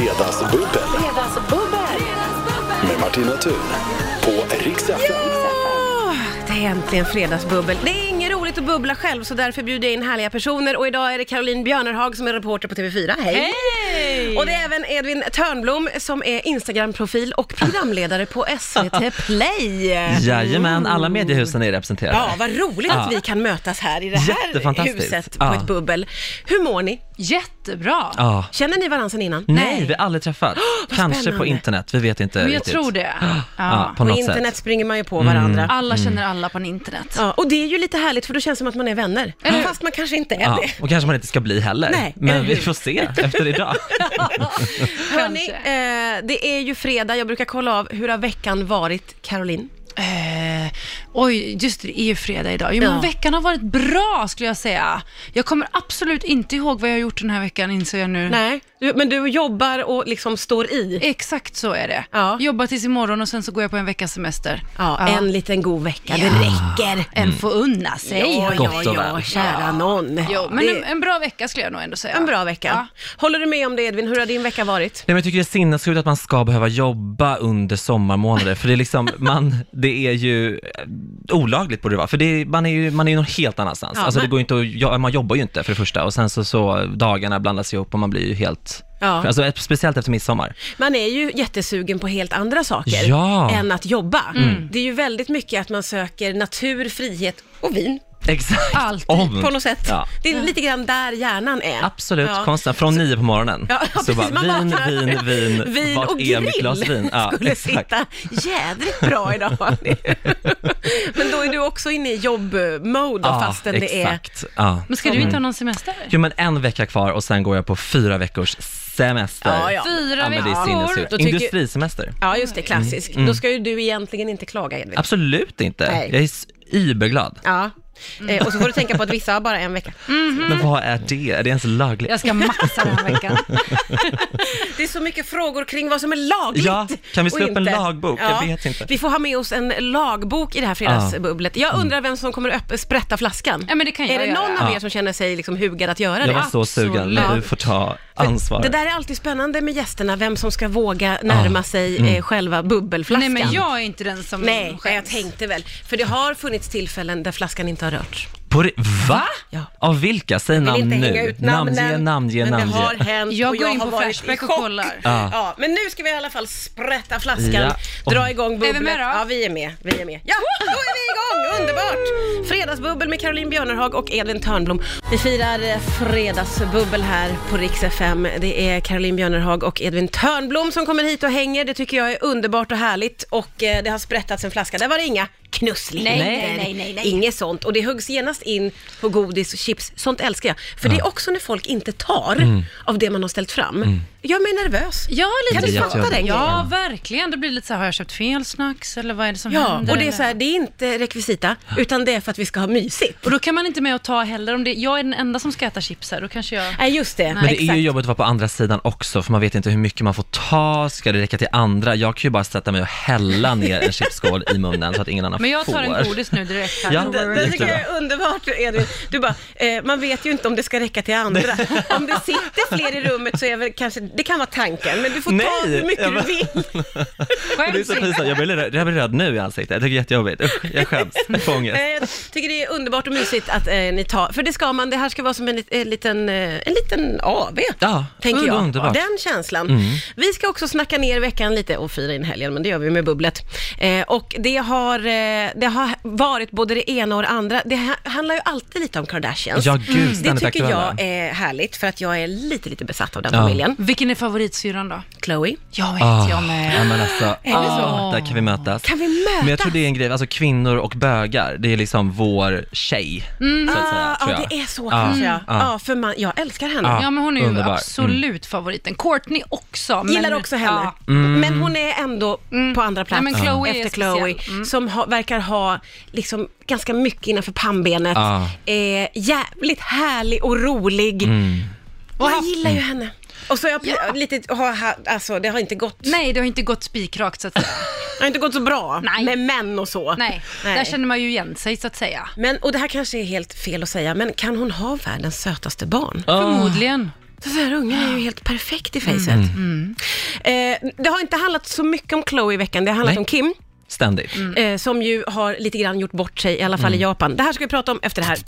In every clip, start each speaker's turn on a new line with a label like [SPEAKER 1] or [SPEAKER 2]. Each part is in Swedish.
[SPEAKER 1] Fredagsbubbel
[SPEAKER 2] Fredagsbubbel!
[SPEAKER 1] med Martina Thun på Rix FM.
[SPEAKER 3] Åh, Det är äntligen fredagsbubbel. Det är inget roligt att bubbla själv så därför bjuder jag in härliga personer och idag är det Caroline Björnerhag som är reporter på TV4. Hej!
[SPEAKER 4] Hej!
[SPEAKER 3] Och det är även Edvin Törnblom som är Instagram-profil och programledare på SVT Play.
[SPEAKER 4] Jajamän, alla mediehusen är representerade.
[SPEAKER 3] Ja, vad roligt att vi kan mötas här i det här
[SPEAKER 4] Jättefantastiskt.
[SPEAKER 3] huset på
[SPEAKER 4] Ja.
[SPEAKER 3] ett bubbel. Hur mår ni?
[SPEAKER 5] Jättebra.
[SPEAKER 4] Ja.
[SPEAKER 3] Känner ni varandra sedan innan?
[SPEAKER 4] Nej, vi har aldrig träffat. Kanske på
[SPEAKER 3] spännande.
[SPEAKER 4] internet, vi vet inte
[SPEAKER 5] Men jag
[SPEAKER 4] riktigt.
[SPEAKER 5] tror det.
[SPEAKER 4] Ja,
[SPEAKER 5] Ja.
[SPEAKER 4] på
[SPEAKER 3] På
[SPEAKER 4] något
[SPEAKER 3] internet
[SPEAKER 4] sätt. Mm.
[SPEAKER 3] springer man ju på varandra.
[SPEAKER 5] Alla känner alla på internet.
[SPEAKER 3] Ja, och det är ju lite härligt för då känns det som att man är vänner.
[SPEAKER 5] Eller-
[SPEAKER 3] Fast man kanske inte är
[SPEAKER 4] Mm. Ja,
[SPEAKER 3] det.
[SPEAKER 4] och kanske man inte ska bli heller.
[SPEAKER 3] Nej, eller
[SPEAKER 4] Men vi
[SPEAKER 3] hur?
[SPEAKER 4] får se efter idag.
[SPEAKER 3] Hörni,
[SPEAKER 5] Kanske.
[SPEAKER 3] eh, det är ju fredag. Jag brukar kolla av hur har veckan varit, Caroline?
[SPEAKER 5] Eh, oj, just det, det är ju fredag idag. Jo, men
[SPEAKER 3] Ja.
[SPEAKER 5] veckan har varit bra skulle jag säga. Jag kommer absolut inte ihåg vad jag har gjort den här veckan inser jag nu.
[SPEAKER 3] Nej, du, men du jobbar och liksom står i.
[SPEAKER 5] Exakt så är det.
[SPEAKER 3] Ja.
[SPEAKER 5] Jobbar tills imorgon och sen så går jag på en veckas semester.
[SPEAKER 3] Ja, en liten god vecka, det räcker.
[SPEAKER 5] En får unna sig.
[SPEAKER 3] Ja,
[SPEAKER 4] Gott
[SPEAKER 3] ja,
[SPEAKER 4] och
[SPEAKER 3] ja,
[SPEAKER 4] väl.
[SPEAKER 3] kära någon.
[SPEAKER 5] Jo, men
[SPEAKER 3] det
[SPEAKER 5] en, en bra vecka skulle jag nog ändå säga.
[SPEAKER 3] en bra vecka.
[SPEAKER 5] Ja.
[SPEAKER 3] Håller du med om det Edvin? Hur har din vecka varit?
[SPEAKER 4] Nej, men jag tycker det är sinnessjukt att man ska behöva jobba under sommarmånader, för det är liksom, man, det är ju eh, olagligt borde det vara, för det är, man är ju man är ju någon helt annanstans.
[SPEAKER 3] Ja,
[SPEAKER 4] alltså det
[SPEAKER 3] men-
[SPEAKER 4] går ju inte att, ja, man jobbar ju inte för det första, och sen så, så dagarna blandas ihop och man blir ju helt,
[SPEAKER 3] Ja.
[SPEAKER 4] alltså ett- speciellt efter midsommar.
[SPEAKER 3] Man är ju jättesugen på helt andra saker
[SPEAKER 4] Ja.
[SPEAKER 3] än att jobba.
[SPEAKER 5] Mm.
[SPEAKER 3] Det är ju väldigt mycket att man söker natur, frihet och vin
[SPEAKER 4] Exakt.
[SPEAKER 5] Alltid.
[SPEAKER 4] Om.
[SPEAKER 3] på något sätt.
[SPEAKER 4] Mm. Ja.
[SPEAKER 3] Det är lite grann där hjärnan är.
[SPEAKER 4] Absolut,
[SPEAKER 3] Ja.
[SPEAKER 4] konsten. Från nio på morgonen.
[SPEAKER 3] Ja, ja, precis.
[SPEAKER 4] så bara,
[SPEAKER 3] Man bara-
[SPEAKER 4] vin, vin, vin,
[SPEAKER 3] Vin
[SPEAKER 4] vart
[SPEAKER 3] och
[SPEAKER 4] är
[SPEAKER 3] grill
[SPEAKER 4] mitt glas vin?
[SPEAKER 3] skulle sitta jädrigt bra idag. hörni. Men då är du också inne i jobbmode
[SPEAKER 4] Ja,
[SPEAKER 3] fastän det är...
[SPEAKER 4] exakt. Ja.
[SPEAKER 5] Men ska du
[SPEAKER 3] Mm.
[SPEAKER 5] inte ha någon semester?
[SPEAKER 4] Jo men en vecka kvar och sen går jag på fyra veckors semester.
[SPEAKER 3] Ja, ja.
[SPEAKER 4] Ja,
[SPEAKER 5] Fyra
[SPEAKER 4] men det är
[SPEAKER 5] veckor.
[SPEAKER 4] sinnessjukt.
[SPEAKER 3] Då tycker-
[SPEAKER 4] Industrisemester.
[SPEAKER 3] Ja, just det, klassisk.
[SPEAKER 4] Mm,
[SPEAKER 3] Då ska ju du egentligen inte klaga, Edvin.
[SPEAKER 4] Absolut inte.
[SPEAKER 3] Nej.
[SPEAKER 4] Jag är s- überglad.
[SPEAKER 3] Ja. Eh, och så får du tänka på att vissa har bara en vecka.
[SPEAKER 4] Men vad är det? Är det ens lagligt?
[SPEAKER 5] Jag ska maxa den här veckan.
[SPEAKER 3] Det är så mycket frågor kring vad som är lagligt
[SPEAKER 4] Ja, kan vi slå
[SPEAKER 3] och
[SPEAKER 4] upp en
[SPEAKER 3] inte.
[SPEAKER 4] lagbok? Jag vet inte.
[SPEAKER 3] Vi får ha med oss en lagbok i det här fredagsbubblet. Jag undrar vem som kommer öpp- sprätta flaskan.
[SPEAKER 5] Ja, men det kan
[SPEAKER 3] är
[SPEAKER 5] jag
[SPEAKER 3] det
[SPEAKER 5] göra.
[SPEAKER 3] någon av er
[SPEAKER 4] Mm. Ja.
[SPEAKER 3] som känner sig liksom hugad att göra
[SPEAKER 4] Jag
[SPEAKER 3] det?
[SPEAKER 4] var så sugen, men du
[SPEAKER 3] Absolut.
[SPEAKER 4] får ta ansvar.
[SPEAKER 3] Det där är alltid spännande med gästerna, vem som ska våga närma sig eh, själva bubbelflaskan.
[SPEAKER 5] Nej, men jag är inte den som
[SPEAKER 3] Nej,
[SPEAKER 5] skäms.
[SPEAKER 3] nej, jag tänkte väl. För det har funnits tillfällen där flaskan inte har rörts.
[SPEAKER 4] På det... Va?
[SPEAKER 3] Ja.
[SPEAKER 4] Av vilka? Säg
[SPEAKER 3] Jag
[SPEAKER 4] namn
[SPEAKER 3] vill inte
[SPEAKER 4] nu.
[SPEAKER 3] hänga ut namnen,
[SPEAKER 4] namnge, namnge,
[SPEAKER 3] men
[SPEAKER 4] namnge.
[SPEAKER 3] det har hänt
[SPEAKER 5] Jag
[SPEAKER 3] och
[SPEAKER 5] går
[SPEAKER 3] jag
[SPEAKER 5] in
[SPEAKER 3] har
[SPEAKER 5] på
[SPEAKER 3] varit i
[SPEAKER 5] Flashback och
[SPEAKER 3] chock.
[SPEAKER 5] kollar.
[SPEAKER 3] Ja.
[SPEAKER 4] Ja.
[SPEAKER 3] men nu ska vi i alla fall sprätta flaskan,
[SPEAKER 4] Ja.
[SPEAKER 3] dra
[SPEAKER 4] Och-
[SPEAKER 3] igång
[SPEAKER 5] vi
[SPEAKER 3] bubblet.
[SPEAKER 5] med då?
[SPEAKER 3] Ja, vi är med, vi är med. Ja, då är vi igång, underbart! Fredagsbubbel med Caroline Björnerhag och Edvin Törnblom. Vi firar eh, fredagsbubbel här på Rix FM. Det är Caroline Björnerhag och Edvin Törnblom som kommer hit och hänger. Det tycker jag är underbart och härligt och eh, det har sprättats en flaska. Där var det inga knussligheter,
[SPEAKER 5] Nej, nej, nej, nej, nej.
[SPEAKER 3] inget sånt. Och det huggs genast in på godis och chips. Sånt älskar jag. För det är också när folk inte tar
[SPEAKER 4] Mm.
[SPEAKER 3] av det man har ställt fram. Jag är nervös.
[SPEAKER 5] Ja, lite
[SPEAKER 3] Kan du
[SPEAKER 4] Det är
[SPEAKER 3] fatta
[SPEAKER 4] jättejobbigt.
[SPEAKER 3] den
[SPEAKER 5] Ja,
[SPEAKER 3] grejen?
[SPEAKER 5] verkligen. Då blir det lite så här, har jag köpt fel snacks eller vad är det som
[SPEAKER 3] Ja,
[SPEAKER 5] händer?
[SPEAKER 3] och det är
[SPEAKER 5] Eller-
[SPEAKER 3] så här, det är inte rekvisita, utan det är för att vi ska ha mysigt.
[SPEAKER 5] och då kan man inte med och ta heller. Om det, jag är den enda som ska äta chips här, då kanske jag...
[SPEAKER 3] Nej, just det.
[SPEAKER 4] Men det
[SPEAKER 3] Exakt.
[SPEAKER 4] är ju jobbigt att vara på andra sidan också, för man vet inte hur mycket man får ta, ska det räcka till andra? Jag kan ju bara sätta mig och hälla ner en chipsskål i munnen så att ingen annan
[SPEAKER 5] Men jag
[SPEAKER 4] får.
[SPEAKER 5] tar en godis nu direkt här.
[SPEAKER 4] Ja,
[SPEAKER 5] No
[SPEAKER 4] det-
[SPEAKER 3] Det
[SPEAKER 5] worries.
[SPEAKER 3] tycker jag är underbart Edvin. Du bara, eh, man vet ju inte om det ska räcka till andra. Om det sitter fler i rummet så är väl kanske, det kan vara tanken, men du får ta
[SPEAKER 4] Nej,
[SPEAKER 3] hur mycket
[SPEAKER 4] jag
[SPEAKER 3] du
[SPEAKER 4] bara-
[SPEAKER 3] vill.
[SPEAKER 4] Och det är så pinsamt, jag blir, röd, jag blir röd nu i ansiktet, jag tycker det är jättejobbigt. Usch, jag skäms, jag får ångest.
[SPEAKER 3] Nej, Eh, jag tycker det är underbart och mysigt att eh, ni tar, för det ska man, det här ska vara som en, lit- en liten, eh, en liten AV.
[SPEAKER 4] Ja,
[SPEAKER 3] Tänker jag.
[SPEAKER 4] underbart. Mm.
[SPEAKER 3] Den känslan. Vi ska också snacka ner veckan lite och fira in helgen, men det gör vi med bubblet. Eh, och det har, eh, det har varit både det ena och det andra. Det ha, handlar ju alltid lite om Kardashians. Mm.
[SPEAKER 4] Ja, gud,
[SPEAKER 3] Det
[SPEAKER 4] ständigt
[SPEAKER 3] tycker
[SPEAKER 4] aktuella.
[SPEAKER 3] jag är härligt, för att jag är lite, lite besatt av den
[SPEAKER 4] Ja.
[SPEAKER 3] familjen.
[SPEAKER 5] Vilken är favoritsyrran då?
[SPEAKER 3] Chloe.
[SPEAKER 5] Jag vet,
[SPEAKER 4] Ah,
[SPEAKER 5] jag
[SPEAKER 4] Ja,
[SPEAKER 5] med.
[SPEAKER 4] men alltså, ah, där kan vi mötas.
[SPEAKER 3] Kan vi mötas?
[SPEAKER 4] Men jag tror det är en grej, alltså kvinnor och bögar, det är liksom vår tjej, så att
[SPEAKER 3] ah,
[SPEAKER 4] säga, tror
[SPEAKER 3] ja,
[SPEAKER 4] jag.
[SPEAKER 3] det är så
[SPEAKER 4] Ja, Mm.
[SPEAKER 3] kanske, ja.
[SPEAKER 4] ja.
[SPEAKER 3] Ja, för man, jag älskar henne.
[SPEAKER 4] Ja.
[SPEAKER 5] Ja, men hon är ju
[SPEAKER 4] Underbar. Mm.
[SPEAKER 5] absolut favoriten. Courtney också. Men,
[SPEAKER 3] Gillar också henne.
[SPEAKER 5] Ja. Mm.
[SPEAKER 3] Men hon är ändå på andra plats
[SPEAKER 5] Nej, men Chloe är
[SPEAKER 3] efter
[SPEAKER 5] speciell. Mm.
[SPEAKER 3] Chloe. Som ha, verkar ha liksom ganska mycket innanför pannbenet.
[SPEAKER 4] Ja.
[SPEAKER 3] Eh, jävligt härlig och rolig. Och jag gillar ju henne. Och så har jag lite, har, ha- alltså det har inte gått,
[SPEAKER 5] Nej, det har inte gått spikrakt så att säga.
[SPEAKER 3] det har inte gått så bra
[SPEAKER 5] Nej.
[SPEAKER 3] med män och så.
[SPEAKER 5] Nej, där känner man ju igen sig så att säga.
[SPEAKER 3] Men, och det här kanske är helt fel att säga, men kan hon ha världens sötaste barn?
[SPEAKER 4] Ah.
[SPEAKER 5] Förmodligen.
[SPEAKER 3] Den där ungen är ju helt perfekt i facet.
[SPEAKER 5] Mm.
[SPEAKER 3] Eh, det har inte handlat så mycket om Chloe i veckan, det har handlat
[SPEAKER 4] Nej.
[SPEAKER 3] om Kim,
[SPEAKER 4] Ständigt.
[SPEAKER 3] eh, som ju har lite grann gjort bort sig, i alla fall
[SPEAKER 4] Mm.
[SPEAKER 3] i Japan. Det här ska vi prata om efter det här.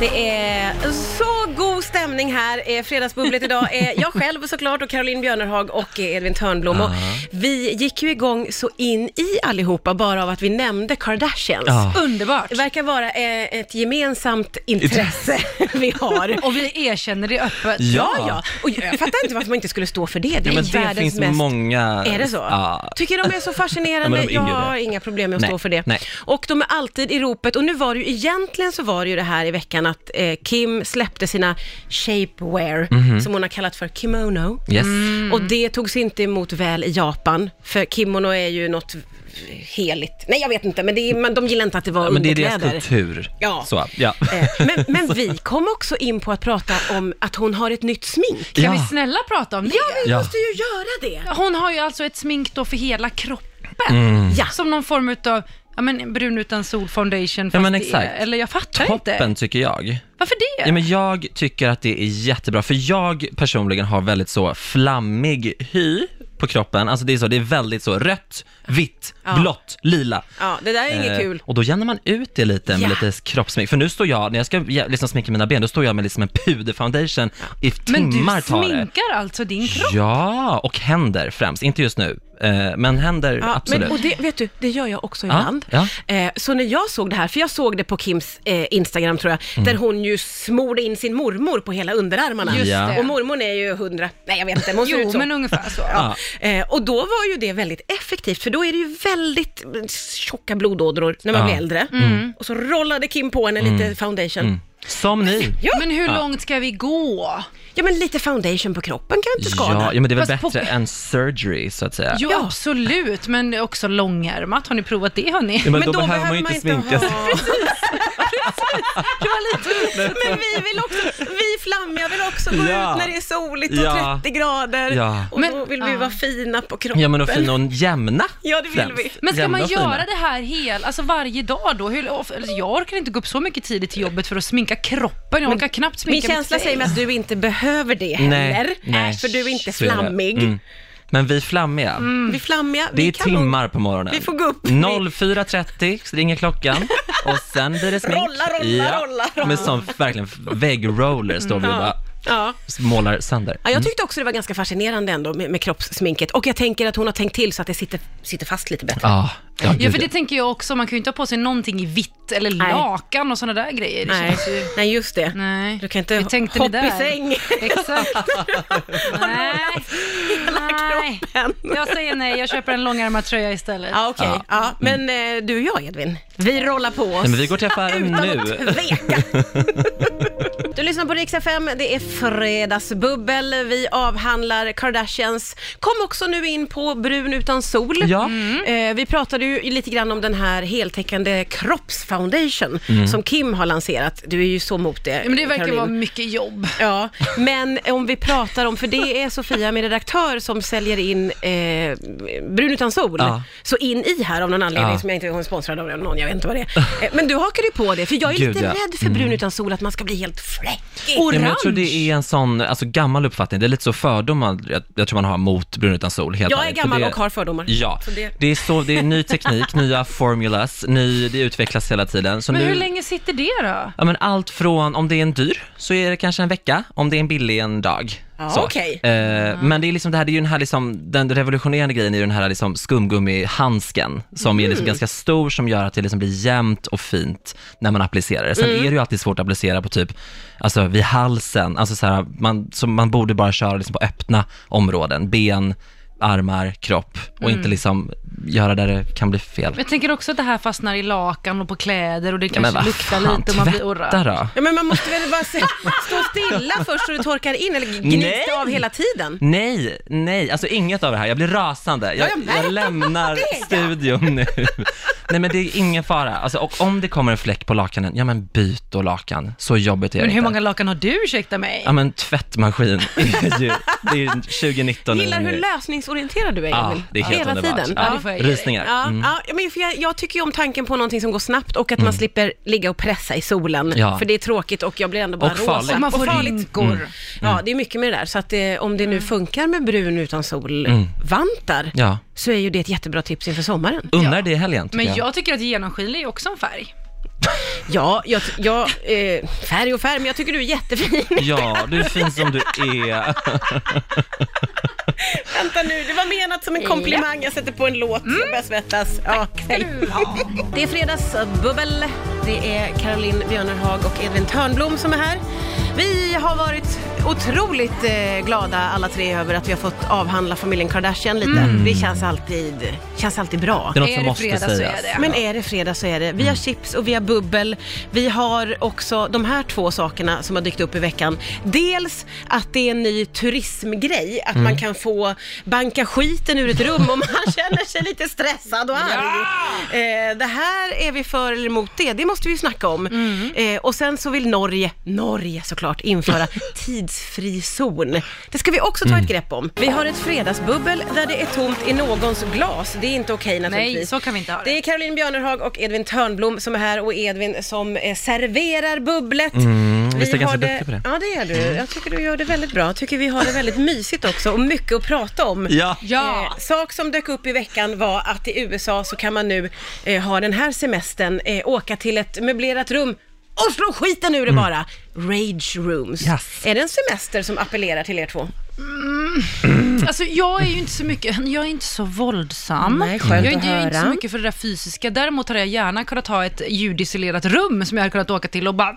[SPEAKER 3] Det är så god stämning här. Eh, fredagsbubblet idag är jag själv såklart och Caroline Björnerhag och eh, Edvin Törnblom. Och vi gick ju igång så in i allihopa bara av att vi nämnde Kardashians.
[SPEAKER 4] Ja.
[SPEAKER 5] Underbart.
[SPEAKER 3] Det verkar vara eh, ett gemensamt intresse vi har.
[SPEAKER 5] Och vi erkänner det öppet.
[SPEAKER 4] Ja.
[SPEAKER 3] Ja, ja. Och jag fattar inte varför man inte skulle stå för det. Det är
[SPEAKER 4] Ja, men det
[SPEAKER 3] världens
[SPEAKER 4] finns
[SPEAKER 3] mest...
[SPEAKER 4] många...
[SPEAKER 3] Är det så?
[SPEAKER 4] Ja.
[SPEAKER 3] Tycker de är så
[SPEAKER 4] Ja,
[SPEAKER 3] fascinerande.
[SPEAKER 4] men de är
[SPEAKER 3] jag
[SPEAKER 4] ju det.
[SPEAKER 3] har inga problem med att
[SPEAKER 4] Nej,
[SPEAKER 3] stå för det.
[SPEAKER 4] nej.
[SPEAKER 3] Och de är alltid i ropet. Och nu var det ju egentligen så var det ju det här i veckan att eh, Kim släppte sina shapewear,
[SPEAKER 4] Mhm.
[SPEAKER 3] som hon har kallat för kimono.
[SPEAKER 4] Yes.
[SPEAKER 3] Och det togs inte emot väl i Japan, för kimono är ju något heligt. Nej, jag vet inte, men, det är, men de gillar inte att det var
[SPEAKER 4] Ja, men det är
[SPEAKER 3] underkläder.
[SPEAKER 4] deras kultur.
[SPEAKER 3] Ja.
[SPEAKER 4] Så, ja.
[SPEAKER 3] Eh, Men, men vi kom också in på att prata om att hon har ett nytt smink.
[SPEAKER 5] Kan vi
[SPEAKER 4] Ja.
[SPEAKER 5] snälla prata om det?
[SPEAKER 3] Vi
[SPEAKER 4] Ja.
[SPEAKER 3] måste ju göra det.
[SPEAKER 5] Hon har ju alltså ett smink då för hela kroppen.
[SPEAKER 4] Mm.
[SPEAKER 3] Ja.
[SPEAKER 5] Som någon form utav ja, men brun utan sol foundation. Fast
[SPEAKER 4] men
[SPEAKER 5] det är-
[SPEAKER 4] exakt.
[SPEAKER 5] Eller jag fattar
[SPEAKER 4] Toppen
[SPEAKER 5] inte. Äh.
[SPEAKER 4] tycker jag.
[SPEAKER 5] Varför det?
[SPEAKER 4] Ja, men jag tycker att det är jättebra, för jag personligen har väldigt så flammig hy på kroppen. Alltså det är så, det är väldigt så rött, vitt, blått, lila.
[SPEAKER 3] Ja, det där är inget
[SPEAKER 4] Eh,
[SPEAKER 3] kul.
[SPEAKER 4] Och då jämnar man ut det lite med
[SPEAKER 3] Ja.
[SPEAKER 4] lite kroppssmink. För nu står jag, när jag ska ja, liksom sminka mina ben, då står jag med liksom en puderfoundation i
[SPEAKER 5] Men
[SPEAKER 4] timmar
[SPEAKER 5] du
[SPEAKER 4] tar det.
[SPEAKER 5] sminkar alltså din kropp?
[SPEAKER 4] Ja, och händer främst. Inte just nu, eh, men händer
[SPEAKER 3] Ja,
[SPEAKER 4] absolut.
[SPEAKER 3] men, och det, vet du, det gör jag också
[SPEAKER 4] Ja,
[SPEAKER 3] ibland.
[SPEAKER 4] ja.
[SPEAKER 3] Eh, så när jag såg det här, för jag såg det på Kims eh, Instagram tror jag,
[SPEAKER 4] Mm.
[SPEAKER 3] där hon ju smorde in sin mormor på hela underarmarna.
[SPEAKER 5] Just
[SPEAKER 4] Ja.
[SPEAKER 5] det.
[SPEAKER 3] Och mormor är ju hundra, nej jag vet inte, men hon ser ut
[SPEAKER 5] Jo,
[SPEAKER 3] så.
[SPEAKER 5] men ungefär så.
[SPEAKER 3] Ja. Eh, och då var ju det väldigt effektivt, för då är det ju väldigt eh, tjocka blodådror när man
[SPEAKER 4] Ja. Mm.
[SPEAKER 3] blir äldre. Och så rollade Kim på henne lite foundation.
[SPEAKER 4] Som ni.
[SPEAKER 3] Ja.
[SPEAKER 5] Men hur långt ska vi gå?
[SPEAKER 3] Ja, men lite foundation på kroppen kan ju inte skada.
[SPEAKER 4] Ja, ja, men det är väl
[SPEAKER 5] Fast på-
[SPEAKER 4] bättre än surgery, så att säga.
[SPEAKER 5] Jo, absolut, men också långärmat. Har ni provat det, hörni?
[SPEAKER 4] Ja, men, då, behöver man ju inte sminka sig.
[SPEAKER 3] ha- Men vi vill också, vi flammiga vill också gå
[SPEAKER 4] Ja.
[SPEAKER 3] ut när det är soligt och
[SPEAKER 4] Ja.
[SPEAKER 3] 30 grader.
[SPEAKER 4] Ja.
[SPEAKER 3] Och
[SPEAKER 5] Men-
[SPEAKER 3] då vill vi
[SPEAKER 5] ja.
[SPEAKER 3] vara fina på kroppen.
[SPEAKER 4] Ja men och fina och jämna
[SPEAKER 3] Ja, det vill
[SPEAKER 4] främst.
[SPEAKER 3] vi.
[SPEAKER 5] Men ska
[SPEAKER 4] Jämna
[SPEAKER 5] man
[SPEAKER 4] och fina.
[SPEAKER 5] göra det här hel, alltså varje dag då? Hur, of- alltså, jag orkar inte gå upp så mycket tidigt till jobbet för att sminka kroppen. Jag orkar knappt
[SPEAKER 3] Min
[SPEAKER 5] sminka
[SPEAKER 3] känsla
[SPEAKER 5] mitt
[SPEAKER 3] säger mig att du inte behöver det heller,
[SPEAKER 4] Nej, nej.
[SPEAKER 3] för du är inte
[SPEAKER 4] Så är det.
[SPEAKER 3] flammig.
[SPEAKER 4] Mm. Men vi är flammiga.
[SPEAKER 3] Vi är flammiga,
[SPEAKER 4] Det
[SPEAKER 3] vi
[SPEAKER 4] är
[SPEAKER 3] kan
[SPEAKER 4] timmar på morgonen.
[SPEAKER 3] vi får gå upp.
[SPEAKER 4] 04.30 så ringer klockan och sen blir det smink.
[SPEAKER 3] Rolla, rolla, rolla, rolla.
[SPEAKER 4] Men som verkligen väggroller står vi och bara
[SPEAKER 3] Ja.
[SPEAKER 4] målar sönder. Mm.
[SPEAKER 3] Ja, jag tyckte också det var ganska fascinerande ändå med, med kroppssminket och jag tänker att hon har tänkt till så att det sitter, sitter fast lite bättre.
[SPEAKER 4] Ja, Ah, ja,
[SPEAKER 5] Ja,
[SPEAKER 4] gud,
[SPEAKER 5] för det tänker jag också. Man kan ju inte ha på sig någonting i vitt eller
[SPEAKER 3] Nej.
[SPEAKER 5] lakan och sådana där grejer. Det
[SPEAKER 3] Nej.
[SPEAKER 5] känns ju...
[SPEAKER 3] Nej, just det.
[SPEAKER 5] Nej.
[SPEAKER 3] Du kan inte
[SPEAKER 5] Hur tänkte ni
[SPEAKER 3] hoppa i
[SPEAKER 5] där?
[SPEAKER 3] säng.
[SPEAKER 5] Exakt. nej. nej.
[SPEAKER 3] kroppen.
[SPEAKER 5] Jag säger nej, jag köper en långärmad tröja istället.
[SPEAKER 3] Ja, okej. Ja. men eh, du och jag, Edvin, vi rollar på oss.
[SPEAKER 4] Nej, men vi går till affären
[SPEAKER 3] utan
[SPEAKER 4] nu.
[SPEAKER 3] att tveka. du lyssnar på Rix FM, det är fredagsbubbel. Vi avhandlar Kardashians. Kom också nu in på brun utan sol.
[SPEAKER 4] Ja.
[SPEAKER 3] Eh, vi pratade ju lite grann om den här heltäckande kroppsfoundation
[SPEAKER 4] Mm.
[SPEAKER 3] som Kim har lanserat. Du är ju så mot det,
[SPEAKER 5] Ja, Men det verkar
[SPEAKER 3] Caroline.
[SPEAKER 5] vara mycket jobb.
[SPEAKER 3] Ja, men om vi pratar om, för det är Sofia, min redaktör, som säljer in eh, brun utan sol,
[SPEAKER 4] Ja.
[SPEAKER 3] så in i här av någon anledning
[SPEAKER 4] Ja.
[SPEAKER 3] som jag inte är sponsrad av någon, jag vet inte vad det är. Eh, Men du hakar ju på det, för jag är
[SPEAKER 4] Gud,
[SPEAKER 3] lite
[SPEAKER 4] ja. Mm.
[SPEAKER 3] rädd för brun utan sol, att man ska bli helt fläckig.
[SPEAKER 4] Ja, men jag tror
[SPEAKER 5] Orange!
[SPEAKER 4] det är en sån alltså, gammal uppfattning, det är lite så fördomar jag, jag tror man har mot brun utan sol. Helt
[SPEAKER 3] jag är
[SPEAKER 4] ärligt. För
[SPEAKER 3] gammal
[SPEAKER 4] det-
[SPEAKER 3] och har fördomar.
[SPEAKER 4] Ja,
[SPEAKER 3] Så det-
[SPEAKER 4] det... är så, det är ny teknik, nya formulas, ny, det utvecklas hela tiden. Så
[SPEAKER 5] Men
[SPEAKER 4] nu,
[SPEAKER 5] hur länge sitter det då?
[SPEAKER 4] Ja, men allt från, om det är en dyr så är det kanske en vecka, om det är en billig en dag.
[SPEAKER 3] Ja,
[SPEAKER 4] så.
[SPEAKER 3] okej.
[SPEAKER 4] Eh, Men det är liksom det här, det är ju den här liksom, den revolutionerande grejen är ju den här liksom skumgummihandsken som är
[SPEAKER 5] Mm.
[SPEAKER 4] liksom ganska stor som gör att det liksom blir jämnt och fint när man applicerar det. Sen
[SPEAKER 5] Mm.
[SPEAKER 4] är det ju alltid svårt att applicera på typ, alltså vid halsen, alltså så här, man, så man borde bara köra liksom på öppna områden, ben, armar, kropp och
[SPEAKER 5] Mm.
[SPEAKER 4] inte liksom göra där det kan bli fel.
[SPEAKER 5] Jag tänker också att det här fastnar i lakan och på kläder och det
[SPEAKER 4] Ja,
[SPEAKER 5] kanske
[SPEAKER 4] vad
[SPEAKER 5] luktar
[SPEAKER 4] fan,
[SPEAKER 5] lite och man blir
[SPEAKER 4] tvätta
[SPEAKER 5] orange.
[SPEAKER 4] då.
[SPEAKER 3] Ja, men man måste väl bara se- stå stilla först så det torkar in, eller gnids det
[SPEAKER 4] Nej.
[SPEAKER 3] av hela tiden?
[SPEAKER 4] Nej, nej, alltså inget av det här. Jag blir rasande. Jag,
[SPEAKER 3] jag märker
[SPEAKER 4] jag lämnar
[SPEAKER 3] det.
[SPEAKER 4] studion nu. Nej men det är ingen fara. Alltså, och om det kommer en fläck på lakanen, ja men byt då lakan. Så jobbigt är det
[SPEAKER 5] Men hur
[SPEAKER 4] inte.
[SPEAKER 5] många lakan har du, ursäkta mig?
[SPEAKER 4] Ja men tvättmaskin är ju, det är ju 2019 nu.
[SPEAKER 3] Gillar hur lösningsorienterad du är,
[SPEAKER 4] Ja,
[SPEAKER 3] Emil.
[SPEAKER 4] det är helt
[SPEAKER 3] Hela
[SPEAKER 4] underbart.
[SPEAKER 3] tiden.
[SPEAKER 5] Ja,
[SPEAKER 4] Ja.
[SPEAKER 5] det får jag ge dig.
[SPEAKER 4] Rysningar.
[SPEAKER 3] Ja, ja, men för jag, jag tycker ju om tanken på någonting som går snabbt och att man slipper ligga och pressa i solen.
[SPEAKER 4] Mm. Ja.
[SPEAKER 3] För det är tråkigt och jag blir ändå bara
[SPEAKER 4] Och
[SPEAKER 3] rosa.
[SPEAKER 4] farligt.
[SPEAKER 5] Och man får
[SPEAKER 3] farligt. Mm.
[SPEAKER 5] rynkor.
[SPEAKER 4] Mm.
[SPEAKER 3] Ja, det är mycket med det där. Så att eh, om det nu funkar med brun utan sol-vantar,
[SPEAKER 4] Mm. Ja.
[SPEAKER 3] så är ju det ett jättebra tips inför sommaren.
[SPEAKER 4] Unnar
[SPEAKER 5] Ja.
[SPEAKER 4] det i helgen tycker
[SPEAKER 5] Men jag tycker att genomskinlig är också en färg.
[SPEAKER 3] Ja, jag, jag, eh, färg och färg, men jag tycker du är jättefin.
[SPEAKER 4] Ja, du är fin som du är.
[SPEAKER 3] Vänta nu, det var menat som en komplimang. Jag sätter på en låt, jag börjar svettas. Ja, hej. Det är fredagsbubbel. Det är Caroline Björnerhag och Edvin Törnblom som är här. Vi har varit otroligt eh, glada alla tre över att vi har fått avhandla familjen Kardashian lite. Det känns alltid, känns alltid bra.
[SPEAKER 4] Det är något
[SPEAKER 5] Är
[SPEAKER 4] som
[SPEAKER 5] det
[SPEAKER 4] måste
[SPEAKER 5] fredag så är
[SPEAKER 4] sägas.
[SPEAKER 5] det.
[SPEAKER 3] Men är det fredag så är det. Vi har
[SPEAKER 5] Mm.
[SPEAKER 3] chips och vi har bubbel. Vi har också de här två sakerna som har dykt upp i veckan. Dels att det är en ny turismgrej, att
[SPEAKER 5] Mm.
[SPEAKER 3] man kan få banka skiten ur ett rum om man känner sig lite stressad och arg. Eh, det här är vi för eller emot det, det måste vi ju snacka om.
[SPEAKER 5] Mm.
[SPEAKER 3] Eh, och sen så vill Norge, Norge såklart, införa tidsfri zon. Det ska vi också ta
[SPEAKER 5] Mm.
[SPEAKER 3] ett grepp om. Vi har ett fredagsbubbel där det är tomt i någons glas. Det är inte okej naturligtvis.
[SPEAKER 5] Nej, så kan vi inte ha det.
[SPEAKER 3] Det är Caroline Björnerhag och Edvin Törnblom som är här och Edvin som eh, serverar bubblet.
[SPEAKER 4] Mm, visst är jag
[SPEAKER 3] har
[SPEAKER 4] ganska duktig på det? Mm.
[SPEAKER 3] Ja, det är du. Jag tycker du gör det väldigt bra. Jag tycker vi har det väldigt mysigt också och mycket att prata om.
[SPEAKER 4] Ja.
[SPEAKER 5] Ja.
[SPEAKER 3] Eh, sak som dök upp i veckan var att i USA så kan man nu eh, ha den här semestern, eh, åka till ett möblerat rum och slå skiten ur det bara. Rage rooms.
[SPEAKER 4] Mm. Yes.
[SPEAKER 3] Är det en semester som appellerar till er två?
[SPEAKER 5] Alltså jag är ju inte så mycket, jag är inte så våldsam.
[SPEAKER 3] Nej, skönt
[SPEAKER 5] jag är,
[SPEAKER 3] att
[SPEAKER 5] jag är inte så
[SPEAKER 3] höra.
[SPEAKER 5] mycket för det där fysiska. Däremot hade jag gärna kunnat ha ett ljudisolerat rum som jag hade kunnat åka till och bara,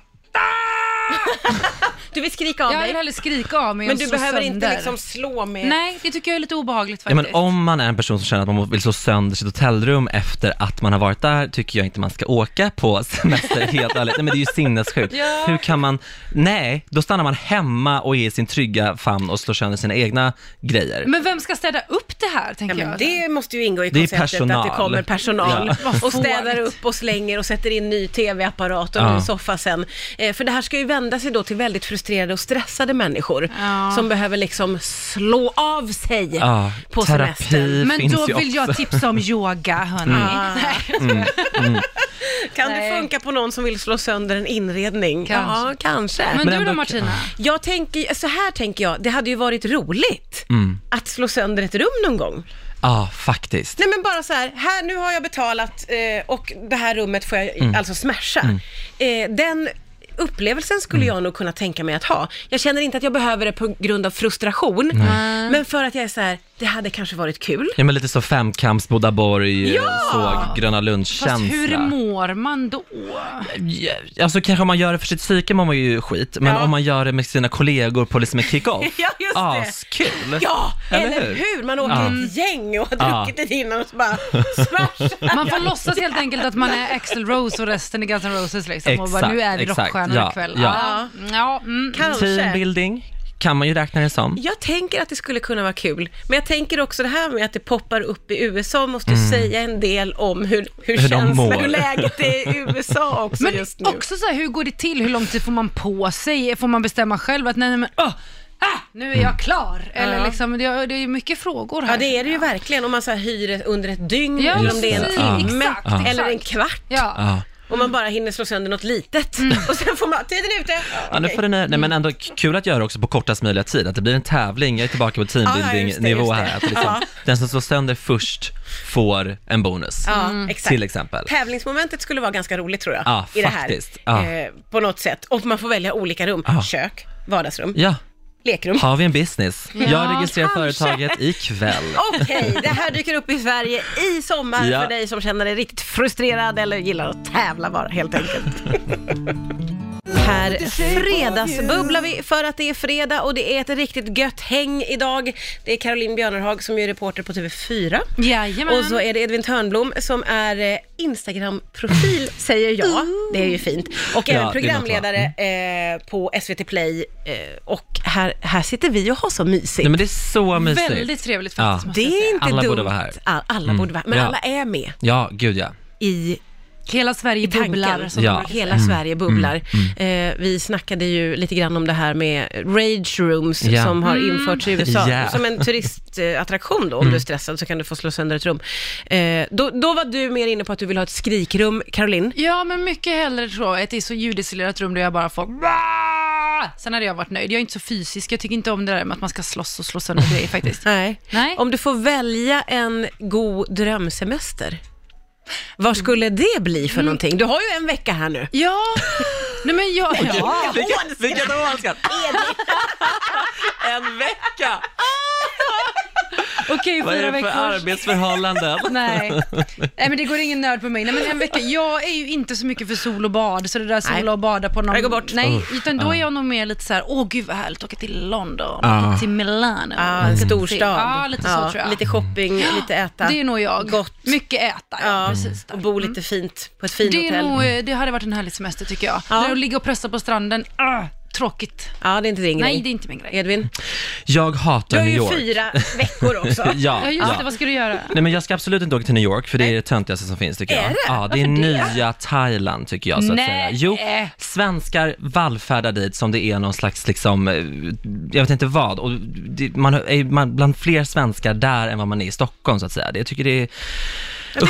[SPEAKER 3] Du vill skrika av
[SPEAKER 5] jag
[SPEAKER 3] dig,
[SPEAKER 5] vill hellre skrika av mig
[SPEAKER 3] men
[SPEAKER 5] och
[SPEAKER 3] du
[SPEAKER 5] slå
[SPEAKER 3] behöver
[SPEAKER 5] sönder.
[SPEAKER 3] inte liksom slå med...
[SPEAKER 5] Nej, det tycker jag är lite obehagligt
[SPEAKER 4] Ja,
[SPEAKER 5] faktiskt.
[SPEAKER 4] men om man är en person som känner att man vill slå sönder sitt hotellrum efter att man har varit där, tycker jag inte man ska åka på semester, helt ärligt. Nej, men det är ju sinnessjukt.
[SPEAKER 5] Ja.
[SPEAKER 4] Hur kan man... Nej, då stannar man hemma och är i sin trygga famn och slår sönder sina egna grejer.
[SPEAKER 5] Men vem ska städa upp det här, tänker
[SPEAKER 3] Ja, men
[SPEAKER 5] jag.
[SPEAKER 3] Mm, det måste ju ingå i
[SPEAKER 4] Det är
[SPEAKER 3] konceptet att det
[SPEAKER 4] personal.
[SPEAKER 3] kommer personal
[SPEAKER 4] Ja.
[SPEAKER 3] och städar
[SPEAKER 5] fånigt.
[SPEAKER 3] upp och slänger och sätter in ny tv-apparat och
[SPEAKER 4] Ja.
[SPEAKER 3] ny soffa sen. Eh, för det här ska ju vända sig då till väldigt frustrerade och stressade människor
[SPEAKER 5] Ja.
[SPEAKER 3] som behöver liksom slå av sig
[SPEAKER 4] Ja,
[SPEAKER 3] på
[SPEAKER 4] terapi.
[SPEAKER 3] semestern.
[SPEAKER 5] Men
[SPEAKER 4] finns
[SPEAKER 5] då
[SPEAKER 4] ju
[SPEAKER 5] vill jag
[SPEAKER 4] också. Mm.
[SPEAKER 5] tipsa om yoga, hörni.
[SPEAKER 3] Ah. Kan det
[SPEAKER 5] Nej.
[SPEAKER 3] funka på någon som vill slå sönder en inredning?
[SPEAKER 5] Kanske.
[SPEAKER 3] Ja, kanske.
[SPEAKER 5] Men,
[SPEAKER 4] Men
[SPEAKER 5] du då
[SPEAKER 4] ändå-
[SPEAKER 5] Martina?
[SPEAKER 3] jag tänker, så här tänker jag, det hade ju varit roligt
[SPEAKER 4] Mm.
[SPEAKER 3] att slå sönder ett rum någon gång.
[SPEAKER 4] Ja, faktiskt.
[SPEAKER 3] Nej men bara så här, här nu har jag betalat eh, och det här rummet får jag
[SPEAKER 4] Mm.
[SPEAKER 3] alltså smasha. Eh, den upplevelsen skulle
[SPEAKER 4] Mm.
[SPEAKER 3] jag nog kunna tänka mig att ha. Jag känner inte att jag behöver det på grund av frustration, men för att jag är så här, det hade kanske varit kul.
[SPEAKER 4] Ja, men lite så femkamps Bodaborg,
[SPEAKER 3] Ja!
[SPEAKER 4] såg Gröna
[SPEAKER 5] Fast hur
[SPEAKER 4] Lund-känsla.
[SPEAKER 5] mår man då?
[SPEAKER 4] Ja, Alltså kanske om man gör det för sitt psyke mår man ju skit, men
[SPEAKER 3] Ja.
[SPEAKER 4] om man gör det med sina kollegor på liksom en kick-off,
[SPEAKER 3] Ja, just det.
[SPEAKER 4] askul!
[SPEAKER 3] Ja, eller,
[SPEAKER 4] Eller
[SPEAKER 3] hur?
[SPEAKER 4] hur?
[SPEAKER 3] Man åker ett gäng och har
[SPEAKER 4] Ja.
[SPEAKER 3] druckit det innan och så bara smash.
[SPEAKER 5] Man får låtsas helt enkelt att man är Axl Rose och resten är Guns N' Roses liksom. och bara,
[SPEAKER 4] Exakt,
[SPEAKER 5] nu är vi
[SPEAKER 4] exakt.
[SPEAKER 5] rockstjärnor
[SPEAKER 4] Ja,
[SPEAKER 5] ikväll.
[SPEAKER 4] ja.
[SPEAKER 5] ja. ja mm.
[SPEAKER 3] Kanske.
[SPEAKER 4] Teambuilding kan man ju räkna det som.
[SPEAKER 3] Jag tänker att det skulle kunna vara kul, men jag tänker också det här med att det poppar upp i USA måste ju säga en del om hur, hur,
[SPEAKER 4] Mm. Hur de
[SPEAKER 3] känslan,
[SPEAKER 4] mår.
[SPEAKER 3] hur läget är i USA också
[SPEAKER 5] Men
[SPEAKER 3] just nu.
[SPEAKER 5] också så här, hur går det till? Hur lång tid får man på sig? Får man bestämma själv att nej, nej men åh, ah, nu är jag klar? Eller liksom, det är det är mycket frågor här.
[SPEAKER 3] Mm. Ja det är det ju verkligen om man så här hyr det under ett dygn
[SPEAKER 5] Ja,
[SPEAKER 3] eller om det är en
[SPEAKER 4] precis.
[SPEAKER 3] timme
[SPEAKER 5] Exakt, exakt.
[SPEAKER 3] eller en kvart
[SPEAKER 5] Ja. Mm.
[SPEAKER 4] Ja.
[SPEAKER 3] och man bara hinner slå sönder något litet och sen får man, tiden är ute.
[SPEAKER 4] Ja, nu får den, nej, men
[SPEAKER 3] Mm.
[SPEAKER 4] ändå k- kul att göra också på kortast möjliga tid, att det blir en tävling. Jag är tillbaka på
[SPEAKER 3] Ja, just det, just
[SPEAKER 4] teambuilding-nivå
[SPEAKER 3] det.
[SPEAKER 4] här. Att det liksom,
[SPEAKER 3] Ja.
[SPEAKER 4] Den som slår sönder först får en bonus,
[SPEAKER 3] Ja,
[SPEAKER 5] Mm.
[SPEAKER 3] exakt.
[SPEAKER 4] till exempel.
[SPEAKER 3] Tävlingsmomentet skulle vara ganska roligt tror jag.
[SPEAKER 4] Ja,
[SPEAKER 3] I det här.
[SPEAKER 4] faktiskt. Ja.
[SPEAKER 3] Eh, på något sätt. Och man får välja olika rum.
[SPEAKER 4] Ja.
[SPEAKER 3] Kök, vardagsrum,
[SPEAKER 4] Ja,
[SPEAKER 3] lekrum.
[SPEAKER 4] har vi en business? Jag registrerar
[SPEAKER 5] kanske.
[SPEAKER 4] företaget ikväll.
[SPEAKER 3] Okej, det här dyker upp i Sverige i sommar
[SPEAKER 4] Ja.
[SPEAKER 3] för dig som känner dig riktigt frustrerad eller gillar att tävla bara helt enkelt. Här fredagsbubblar vi för att det är fredag och det är ett riktigt gött häng idag. Det är Caroline Björnerhag som är reporter på TV4.
[SPEAKER 5] Jajamän.
[SPEAKER 3] Och så är det Edvin Törnblom som är eh, Instagram-profil, säger jag. Det är ju fint. Och
[SPEAKER 4] Mm. Ja,
[SPEAKER 3] även
[SPEAKER 4] det är Mm.
[SPEAKER 3] programledare eh, på SVT Play. Eh, och här, här sitter vi och har så mysigt.
[SPEAKER 4] Nej, men det är så mysigt.
[SPEAKER 5] Väldigt trevligt faktiskt.
[SPEAKER 4] Ja.
[SPEAKER 5] måste jag
[SPEAKER 3] Det är
[SPEAKER 5] säga.
[SPEAKER 3] inte
[SPEAKER 4] Alltså, Alla
[SPEAKER 3] dumt.
[SPEAKER 4] borde vara här. Mm.
[SPEAKER 3] All- Alla borde vara här. Men
[SPEAKER 4] Ja.
[SPEAKER 3] alla är med
[SPEAKER 4] Ja, gud ja.
[SPEAKER 3] i
[SPEAKER 5] Hela Sverige
[SPEAKER 3] tanken.
[SPEAKER 5] bubblar. som
[SPEAKER 4] Ja. Mm.
[SPEAKER 5] man brukar
[SPEAKER 3] Hela Sverige bubblar. Eh, vi snackade ju lite grann om det här med rage rooms
[SPEAKER 4] Ja.
[SPEAKER 3] som har införts i USA.
[SPEAKER 4] Ja. Mm.
[SPEAKER 3] Som en turistattraktion då, om du är stressad så kan du få slå sönder ett rum. Eh, då, då var du mer inne på att du vill ha ett skrikrum, Caroline.
[SPEAKER 5] Ja, men mycket hellre tror jag. Ett i så ljudisolerat rum där jag bara får "Bah!" Sen hade jag varit nöjd. Jag är inte så fysisk. Jag tycker inte om det där med att man ska slåss och slå sönder grejer faktiskt.
[SPEAKER 3] Nej.
[SPEAKER 5] Nej.
[SPEAKER 3] Om du får välja en god drömsemester, vad skulle det bli för någonting? Du har ju en vecka här nu.
[SPEAKER 5] Ja, nej men jag... Ja.
[SPEAKER 4] Vilket, vilket oönskat! en vecka!
[SPEAKER 5] Okej,
[SPEAKER 4] Vad är
[SPEAKER 5] fyra
[SPEAKER 4] det för
[SPEAKER 5] veckor.
[SPEAKER 4] arbetsförhållanden?
[SPEAKER 5] Nej. Nej, men det går ingen nöd på mig. Nej, men en vecka. Jag är ju inte så mycket för sol och bad, så det där
[SPEAKER 3] Nej.
[SPEAKER 5] sola och bada på någon...
[SPEAKER 3] Det går bort.
[SPEAKER 5] Nej,
[SPEAKER 4] Uff,
[SPEAKER 5] utan då är jag nog mer lite så här, åh gud vad härligt, åka till London,
[SPEAKER 4] Ah.
[SPEAKER 5] åka till Milano.
[SPEAKER 3] Ja, en storstad.
[SPEAKER 5] Mm. Ja, lite så tror jag.
[SPEAKER 3] Lite shopping, lite äta.
[SPEAKER 5] Det är nog jag.
[SPEAKER 3] Gott.
[SPEAKER 5] Mycket äta, ja,
[SPEAKER 3] Ja,
[SPEAKER 5] precis. Där.
[SPEAKER 3] och bo lite fint på ett fint
[SPEAKER 5] Det, är
[SPEAKER 3] hotell.
[SPEAKER 5] nog, eh, det hade varit en härlig semester tycker jag.
[SPEAKER 3] Ja.
[SPEAKER 5] Där att ligga och pressa på stranden, ah, tråkigt.
[SPEAKER 3] Ja, det är inte din grej.
[SPEAKER 5] Nej, det är inte min grej.
[SPEAKER 3] Edvin?
[SPEAKER 4] Jag
[SPEAKER 3] Du
[SPEAKER 4] hatar
[SPEAKER 3] har
[SPEAKER 4] New
[SPEAKER 3] ju
[SPEAKER 4] York.
[SPEAKER 3] fyra veckor också.
[SPEAKER 4] Ja,
[SPEAKER 5] Ja, just det. Vad ska du göra?
[SPEAKER 4] Nej men jag ska absolut inte åka till New York för det är det töntigaste som finns tycker jag.
[SPEAKER 3] Är det?
[SPEAKER 4] Ja, det är nya Thailand tycker jag så att
[SPEAKER 5] Nej.
[SPEAKER 4] säga. Jo, svenskar vallfärdar dit som det är någon slags liksom, eh, jag vet inte vad. Och det, man är ju- man, bland fler svenskar där än vad man är i Stockholm så att säga. Det, jag tycker det är,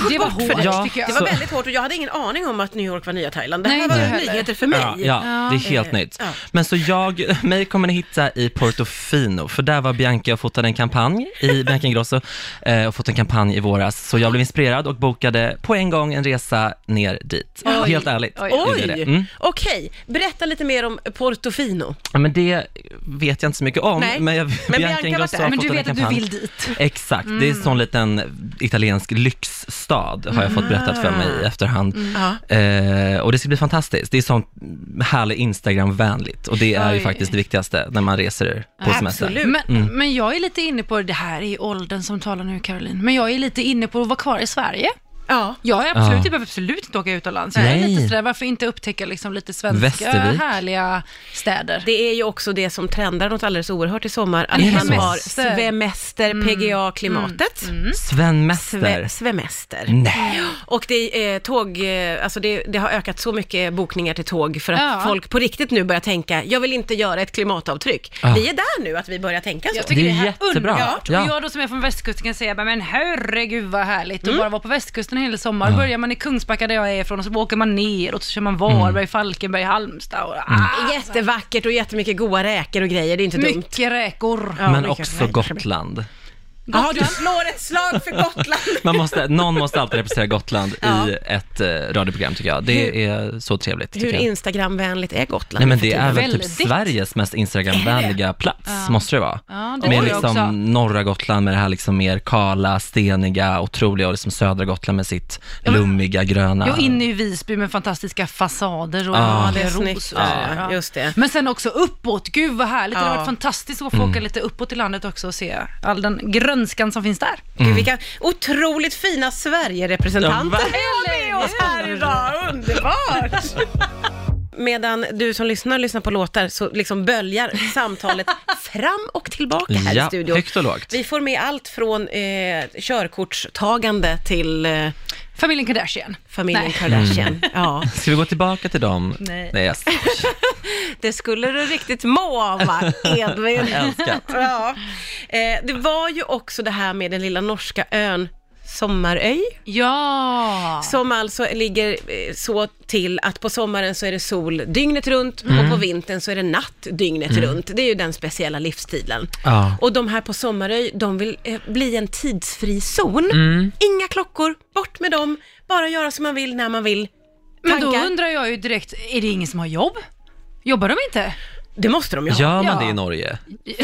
[SPEAKER 5] Det var hårt
[SPEAKER 4] Ja,
[SPEAKER 5] tycker jag.
[SPEAKER 3] Det var
[SPEAKER 4] Så-
[SPEAKER 3] väldigt hårt och jag hade ingen aning om att New York var nya Thailand. Det här
[SPEAKER 5] Nej,
[SPEAKER 3] var
[SPEAKER 5] inte
[SPEAKER 3] ju
[SPEAKER 5] heller.
[SPEAKER 3] nyheter för mig.
[SPEAKER 4] ja, ja, det är helt
[SPEAKER 3] Eh,
[SPEAKER 4] nytt.
[SPEAKER 3] ja.
[SPEAKER 4] Men så jag, mig kommer ni hitta i Portofino, för där var Bianca och fotade en kampanj i Bianca Ingrosso eh, och fått en kampanj i våras. Så jag blev inspirerad och bokade på en gång en resa ner dit.
[SPEAKER 5] Oj.
[SPEAKER 4] Helt ärligt.
[SPEAKER 5] Oj.
[SPEAKER 4] gjorde
[SPEAKER 3] Oj!
[SPEAKER 4] jag det. Mm.
[SPEAKER 3] Okej, berätta lite mer om Portofino.
[SPEAKER 4] Ja, Men det vet jag inte så mycket om.
[SPEAKER 3] Nej.
[SPEAKER 4] Men, jag,
[SPEAKER 3] Men Bianca var
[SPEAKER 4] Ingrosso
[SPEAKER 3] där. Mm.
[SPEAKER 4] har
[SPEAKER 5] Men
[SPEAKER 4] fått
[SPEAKER 5] du
[SPEAKER 4] en
[SPEAKER 5] vet att du
[SPEAKER 4] kampanj.
[SPEAKER 5] vill dit.
[SPEAKER 4] Exakt, det är en sån liten italiensk lyxstad har jag
[SPEAKER 3] Mm.
[SPEAKER 4] fått berättat för mig i efterhand. Eh, och det ska bli fantastiskt. Det är sånt härligt Instagram-vänligt och det är ju
[SPEAKER 5] Oj.
[SPEAKER 4] faktiskt det viktigaste när man reser på semester.
[SPEAKER 3] absolut.
[SPEAKER 5] Men, men jag är lite inne på, det här är ju åldern som talar nu Caroline, men jag är lite inne på att vara kvar i Sverige.
[SPEAKER 3] Ja.
[SPEAKER 5] Jag, är absolut,
[SPEAKER 4] Ja.
[SPEAKER 5] jag behöver absolut inte åka utomlands. Jag är
[SPEAKER 4] Nej.
[SPEAKER 5] lite sådär, varför inte upptäcka liksom lite svenska
[SPEAKER 4] Västervik.
[SPEAKER 5] härliga städer?
[SPEAKER 3] Det är ju också det som trendar något alldeles oerhört i sommar, att
[SPEAKER 4] Yes.
[SPEAKER 3] man har
[SPEAKER 5] Svemester.
[SPEAKER 3] svemester,
[SPEAKER 5] Mm.
[SPEAKER 3] PGA-klimatet.
[SPEAKER 4] Sven
[SPEAKER 3] Sve,
[SPEAKER 4] Mäster.
[SPEAKER 3] svemester.
[SPEAKER 4] Nej.
[SPEAKER 3] Och det, är, eh, tåg, eh, alltså det, det har ökat så mycket bokningar till tåg för att
[SPEAKER 5] Ja.
[SPEAKER 3] folk på riktigt nu börjar tänka, jag vill inte göra ett klimatavtryck.
[SPEAKER 4] Ja.
[SPEAKER 3] Vi är där nu att vi börjar tänka så.
[SPEAKER 5] Jag tycker
[SPEAKER 4] Det
[SPEAKER 5] det,
[SPEAKER 4] är
[SPEAKER 5] här är
[SPEAKER 4] jättebra.
[SPEAKER 5] underbart.
[SPEAKER 4] Ja.
[SPEAKER 5] Och jag då som är från västkusten kan säga, men herregud vad härligt
[SPEAKER 4] Mm.
[SPEAKER 5] att bara vara på västkusten hela sommaren. Börjar man i Kungsbacka där jag är ifrån och så åker man neråt och så kör man Varberg,
[SPEAKER 4] Mm.
[SPEAKER 5] Falkenberg, Halmstad och ah,
[SPEAKER 3] Jättevackert och jättemycket goda räkor och grejer, det är inte dumt.
[SPEAKER 5] mycket räkor.
[SPEAKER 3] Ja,
[SPEAKER 4] Men
[SPEAKER 3] mycket
[SPEAKER 4] också
[SPEAKER 3] räkor.
[SPEAKER 4] Gotland.
[SPEAKER 3] Ja, du slår ett slag för Gotland.
[SPEAKER 4] Man måste, någon måste alltid representera Gotland i ett eh, radioprogram tycker jag. Det är så trevligt.
[SPEAKER 3] Hur
[SPEAKER 4] tycker jag.
[SPEAKER 3] Instagramvänligt är Gotland?
[SPEAKER 4] Nej men
[SPEAKER 3] för
[SPEAKER 4] det
[SPEAKER 3] tiden?
[SPEAKER 4] är väl typ
[SPEAKER 5] Väldigt.
[SPEAKER 4] Sveriges mest Instagramvänliga plats, måste det vara.
[SPEAKER 5] Ja, det tror
[SPEAKER 4] med
[SPEAKER 5] jag
[SPEAKER 4] liksom
[SPEAKER 5] också.
[SPEAKER 4] norra Gotland med det här liksom mer kala, steniga, otroliga och liksom södra Gotland med sitt
[SPEAKER 5] men-
[SPEAKER 4] lummiga, gröna.
[SPEAKER 5] Jo, inne i Visby med fantastiska fasader och
[SPEAKER 4] Ja,
[SPEAKER 5] det
[SPEAKER 3] det är
[SPEAKER 5] är
[SPEAKER 3] snyggt.
[SPEAKER 5] rosor.
[SPEAKER 3] Ja, just det.
[SPEAKER 5] Men sen också uppåt, gud vad härligt. Det
[SPEAKER 3] Ja.
[SPEAKER 5] hade varit fantastiskt att få åka lite uppåt i landet också och se all den grönskan som finns där.
[SPEAKER 3] Gud, vilka otroligt fina Sverige-representanter
[SPEAKER 4] mm. Ja,
[SPEAKER 3] vi har med oss här idag. Underbart! Medan du som lyssnar lyssnar på låtar så liksom böljar samtalet fram och tillbaka här i
[SPEAKER 4] Ja,
[SPEAKER 3] studion.
[SPEAKER 4] högt och lågt.
[SPEAKER 3] Vi får med allt från eh, körkortstagande till eh,
[SPEAKER 5] Familjen Kardashian.
[SPEAKER 3] familjen
[SPEAKER 5] Nej.
[SPEAKER 3] Kardashian. Ja,
[SPEAKER 4] Ska vi gå tillbaka till dem?
[SPEAKER 5] Nej.
[SPEAKER 4] jag skojar.
[SPEAKER 3] det skulle du riktigt må av, va, Edvin.
[SPEAKER 4] Älskat.
[SPEAKER 3] Ja. Eh, det var ju också det här med den lilla norska ön Sommaröj.
[SPEAKER 5] Ja!
[SPEAKER 3] Som alltså ligger eh, så till att på sommaren så är det sol dygnet runt
[SPEAKER 4] Mm.
[SPEAKER 3] och på vintern så är det natt dygnet runt. Det är ju den speciella livsstilen.
[SPEAKER 4] Ja.
[SPEAKER 3] Och de här på Sommaröj, de vill eh, bli en tidsfri zon.
[SPEAKER 4] Mm.
[SPEAKER 3] Inga klockor, bort med dem, bara göra som man vill när man vill.
[SPEAKER 5] Men då
[SPEAKER 3] Tankar?
[SPEAKER 5] undrar jag ju direkt, är det ingen som har jobb? Jobbar de inte?
[SPEAKER 3] Det måste de ju ha.
[SPEAKER 4] Gör man
[SPEAKER 5] Ja.
[SPEAKER 4] det i Norge?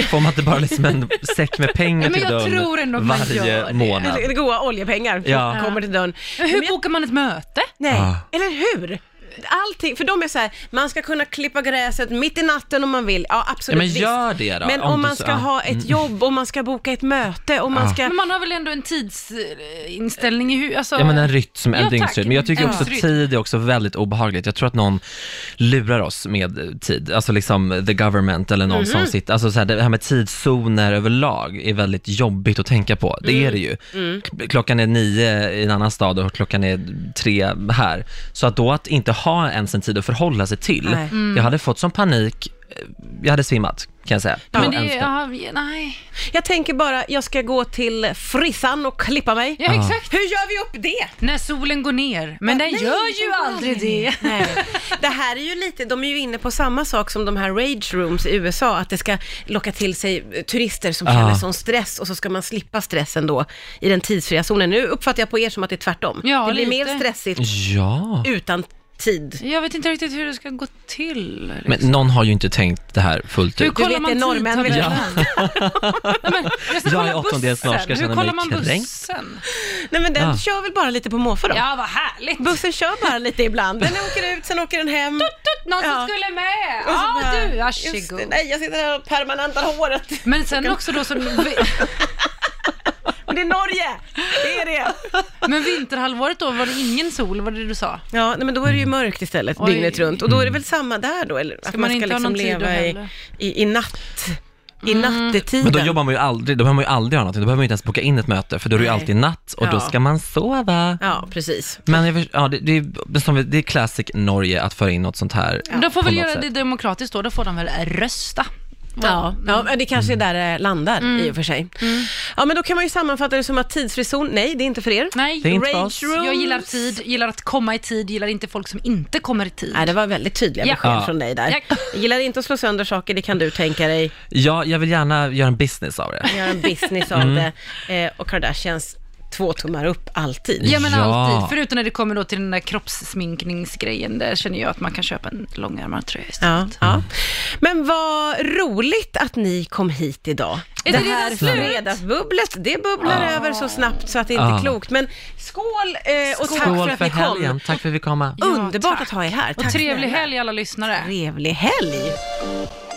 [SPEAKER 4] Får man inte bara liksom en säck med pengar
[SPEAKER 5] Men
[SPEAKER 4] till
[SPEAKER 5] jag tror
[SPEAKER 4] dörren
[SPEAKER 5] ändå att man gör
[SPEAKER 4] varje
[SPEAKER 5] det.
[SPEAKER 4] månad?
[SPEAKER 3] Eller Goa oljepengar
[SPEAKER 4] Ja.
[SPEAKER 3] kommer till dörren.
[SPEAKER 5] Men hur
[SPEAKER 3] Men jag-
[SPEAKER 5] bokar man ett möte?
[SPEAKER 3] Nej,
[SPEAKER 4] Ah.
[SPEAKER 3] eller hur? allting, för de är så här, man ska kunna klippa gräset mitt i natten om man vill. Ja, absolut.
[SPEAKER 4] Ja, men
[SPEAKER 3] visst.
[SPEAKER 4] gör det då,
[SPEAKER 3] Men om,
[SPEAKER 4] om du
[SPEAKER 3] man
[SPEAKER 4] så- ah. Mm.
[SPEAKER 3] ska
[SPEAKER 4] ja.
[SPEAKER 3] ha ett jobb, om man ska boka ett möte, om man
[SPEAKER 4] Ja.
[SPEAKER 3] ska...
[SPEAKER 5] Men man har väl ändå en tidsinställning i huvudet? Alltså,
[SPEAKER 4] Ja men en rytm, en
[SPEAKER 5] Ja, tack.
[SPEAKER 4] dygnsrytm. Men jag tycker
[SPEAKER 5] En
[SPEAKER 4] också att
[SPEAKER 5] dygnsrytm.
[SPEAKER 4] tid är också väldigt obehagligt. Jag tror att någon lurar oss med eh, tid, alltså liksom eh, the government eller någon
[SPEAKER 5] Mhm.
[SPEAKER 4] som sitter, alltså så här, det här med tidszoner överlag är väldigt jobbigt att tänka på.
[SPEAKER 5] Mm.
[SPEAKER 4] Det är det ju. K- Klockan är nio i en annan stad och klockan är tre här. Så att då att inte ha ens en tid att förhålla sig till,
[SPEAKER 3] Nej.
[SPEAKER 5] Mm.
[SPEAKER 4] jag hade fått sån panik, eh, jag hade svimmat kan jag säga.
[SPEAKER 5] Men
[SPEAKER 4] På
[SPEAKER 5] det,
[SPEAKER 4] en stund.
[SPEAKER 5] ja, nej.
[SPEAKER 3] Jag tänker bara, jag ska gå till frissan och klippa mig.
[SPEAKER 5] Ja, exakt.
[SPEAKER 3] Hur gör vi upp det?
[SPEAKER 5] När solen går ner. Men den
[SPEAKER 3] nej,
[SPEAKER 5] gör ju aldrig det.
[SPEAKER 3] Nej. Det här är ju lite, de är ju inne på samma sak som de här rage rooms i USA, att det ska locka till sig eh, turister som
[SPEAKER 4] Ja.
[SPEAKER 3] känner sån stress och så ska man slippa stressen då i den tidsfria zonen. Nu uppfattar jag på er som att det är tvärtom.
[SPEAKER 5] Ja,
[SPEAKER 3] det blir
[SPEAKER 5] lite.
[SPEAKER 3] mer stressigt
[SPEAKER 4] Ja.
[SPEAKER 3] utan tid.
[SPEAKER 5] Jag vet inte riktigt hur det ska gå till. liksom.
[SPEAKER 4] Men någon har ju inte tänkt det här fullt
[SPEAKER 5] Hur
[SPEAKER 4] ut.
[SPEAKER 5] kollar
[SPEAKER 3] vet, det är
[SPEAKER 5] man
[SPEAKER 3] norrmän,
[SPEAKER 5] tidtabellen?
[SPEAKER 3] vet
[SPEAKER 5] Nej, men jag ska
[SPEAKER 4] Jag
[SPEAKER 5] kolla
[SPEAKER 4] är åttondels
[SPEAKER 5] bussen.
[SPEAKER 4] norsk, jag
[SPEAKER 5] Hur
[SPEAKER 4] känner
[SPEAKER 5] kollar
[SPEAKER 4] mig
[SPEAKER 5] man
[SPEAKER 4] kränkt.
[SPEAKER 5] bussen?
[SPEAKER 3] Nej men den
[SPEAKER 4] Ah.
[SPEAKER 3] kör väl bara lite på måfå då?
[SPEAKER 5] Ja, vad härligt.
[SPEAKER 3] Bussen kör bara lite ibland. Den åker ut, sen åker den hem.
[SPEAKER 5] Någon
[SPEAKER 3] Ja.
[SPEAKER 5] som skulle med.
[SPEAKER 3] Och så
[SPEAKER 5] Ja,
[SPEAKER 3] bara,
[SPEAKER 5] du.
[SPEAKER 3] just
[SPEAKER 5] Varsågod.
[SPEAKER 3] det, Nej, jag sitter här och permanentar håret.
[SPEAKER 5] Men sen också då som...
[SPEAKER 3] Och det är Norge! Det är det.
[SPEAKER 5] Men vinterhalvåret då var det ingen sol, var det du sa?
[SPEAKER 3] Ja, nej, men då är det ju mörkt istället
[SPEAKER 5] Mm. Oj. Mm.
[SPEAKER 3] dygnet runt. Och då är det väl samma där då? Eller? att liksom
[SPEAKER 5] man inte ha någon tid Mm. då
[SPEAKER 3] i,
[SPEAKER 5] heller?
[SPEAKER 3] i, i natt, i nattetiden.
[SPEAKER 4] Men då jobbar man ju aldrig, då behöver man ju aldrig ha någonting, då behöver man ju inte ens boka in ett möte, för då är det ju
[SPEAKER 3] Nej.
[SPEAKER 4] alltid natt och
[SPEAKER 3] Ja.
[SPEAKER 4] då ska man sova.
[SPEAKER 3] Ja, precis.
[SPEAKER 4] Men jag, för- ja, det, det, är- men som vi- det är classic Norge att föra in något sånt här.
[SPEAKER 5] Men De får
[SPEAKER 4] På
[SPEAKER 5] väl
[SPEAKER 4] något
[SPEAKER 5] göra
[SPEAKER 4] sätt.
[SPEAKER 5] det demokratiskt då, då får de väl rösta.
[SPEAKER 3] Ja, ja
[SPEAKER 5] Mm.
[SPEAKER 3] men det kanske är där det landar i och för sig. Ja, men då kan man ju sammanfatta det som att tidsfri zon, nej, det är inte för er.
[SPEAKER 5] Nej,
[SPEAKER 4] Det är inte för oss.
[SPEAKER 3] Rage room.
[SPEAKER 5] jag gillar tid, gillar att komma i tid, gillar inte folk som inte kommer i tid.
[SPEAKER 3] Nej, det var väldigt tydliga
[SPEAKER 5] Ja.
[SPEAKER 3] besked
[SPEAKER 4] Ja.
[SPEAKER 3] från dig där.
[SPEAKER 5] Ja.
[SPEAKER 3] Jag gillar inte att slå sönder saker, det kan du tänka dig.
[SPEAKER 4] Ja, jag vill gärna göra en business av det.
[SPEAKER 3] Göra en business av
[SPEAKER 4] Mm.
[SPEAKER 3] det. Eh, och Kardashians två tummar upp alltid.
[SPEAKER 5] Ja men
[SPEAKER 4] Ja.
[SPEAKER 5] alltid, förutom när det kommer då till den där kroppssminkningsgrejen, där känner jag att man kan köpa en långärmad tröja istället.
[SPEAKER 3] Ja, ja. Men vad roligt att ni kom hit idag.
[SPEAKER 5] Är
[SPEAKER 3] det
[SPEAKER 5] det
[SPEAKER 3] här
[SPEAKER 5] redan slut?
[SPEAKER 3] fredagsbubblet, det bubblar över så snabbt så att det inte är
[SPEAKER 4] Ja.
[SPEAKER 3] klokt. Men skål eh, och tack för
[SPEAKER 4] Skål
[SPEAKER 3] att
[SPEAKER 4] för
[SPEAKER 3] ni kom.
[SPEAKER 4] helgen, tack för att vi kom.
[SPEAKER 3] Underbart
[SPEAKER 5] tack.
[SPEAKER 3] att ha er här.
[SPEAKER 5] Och
[SPEAKER 3] Tack
[SPEAKER 5] trevlig
[SPEAKER 3] snälla.
[SPEAKER 5] helg alla lyssnare.
[SPEAKER 3] Trevlig helg.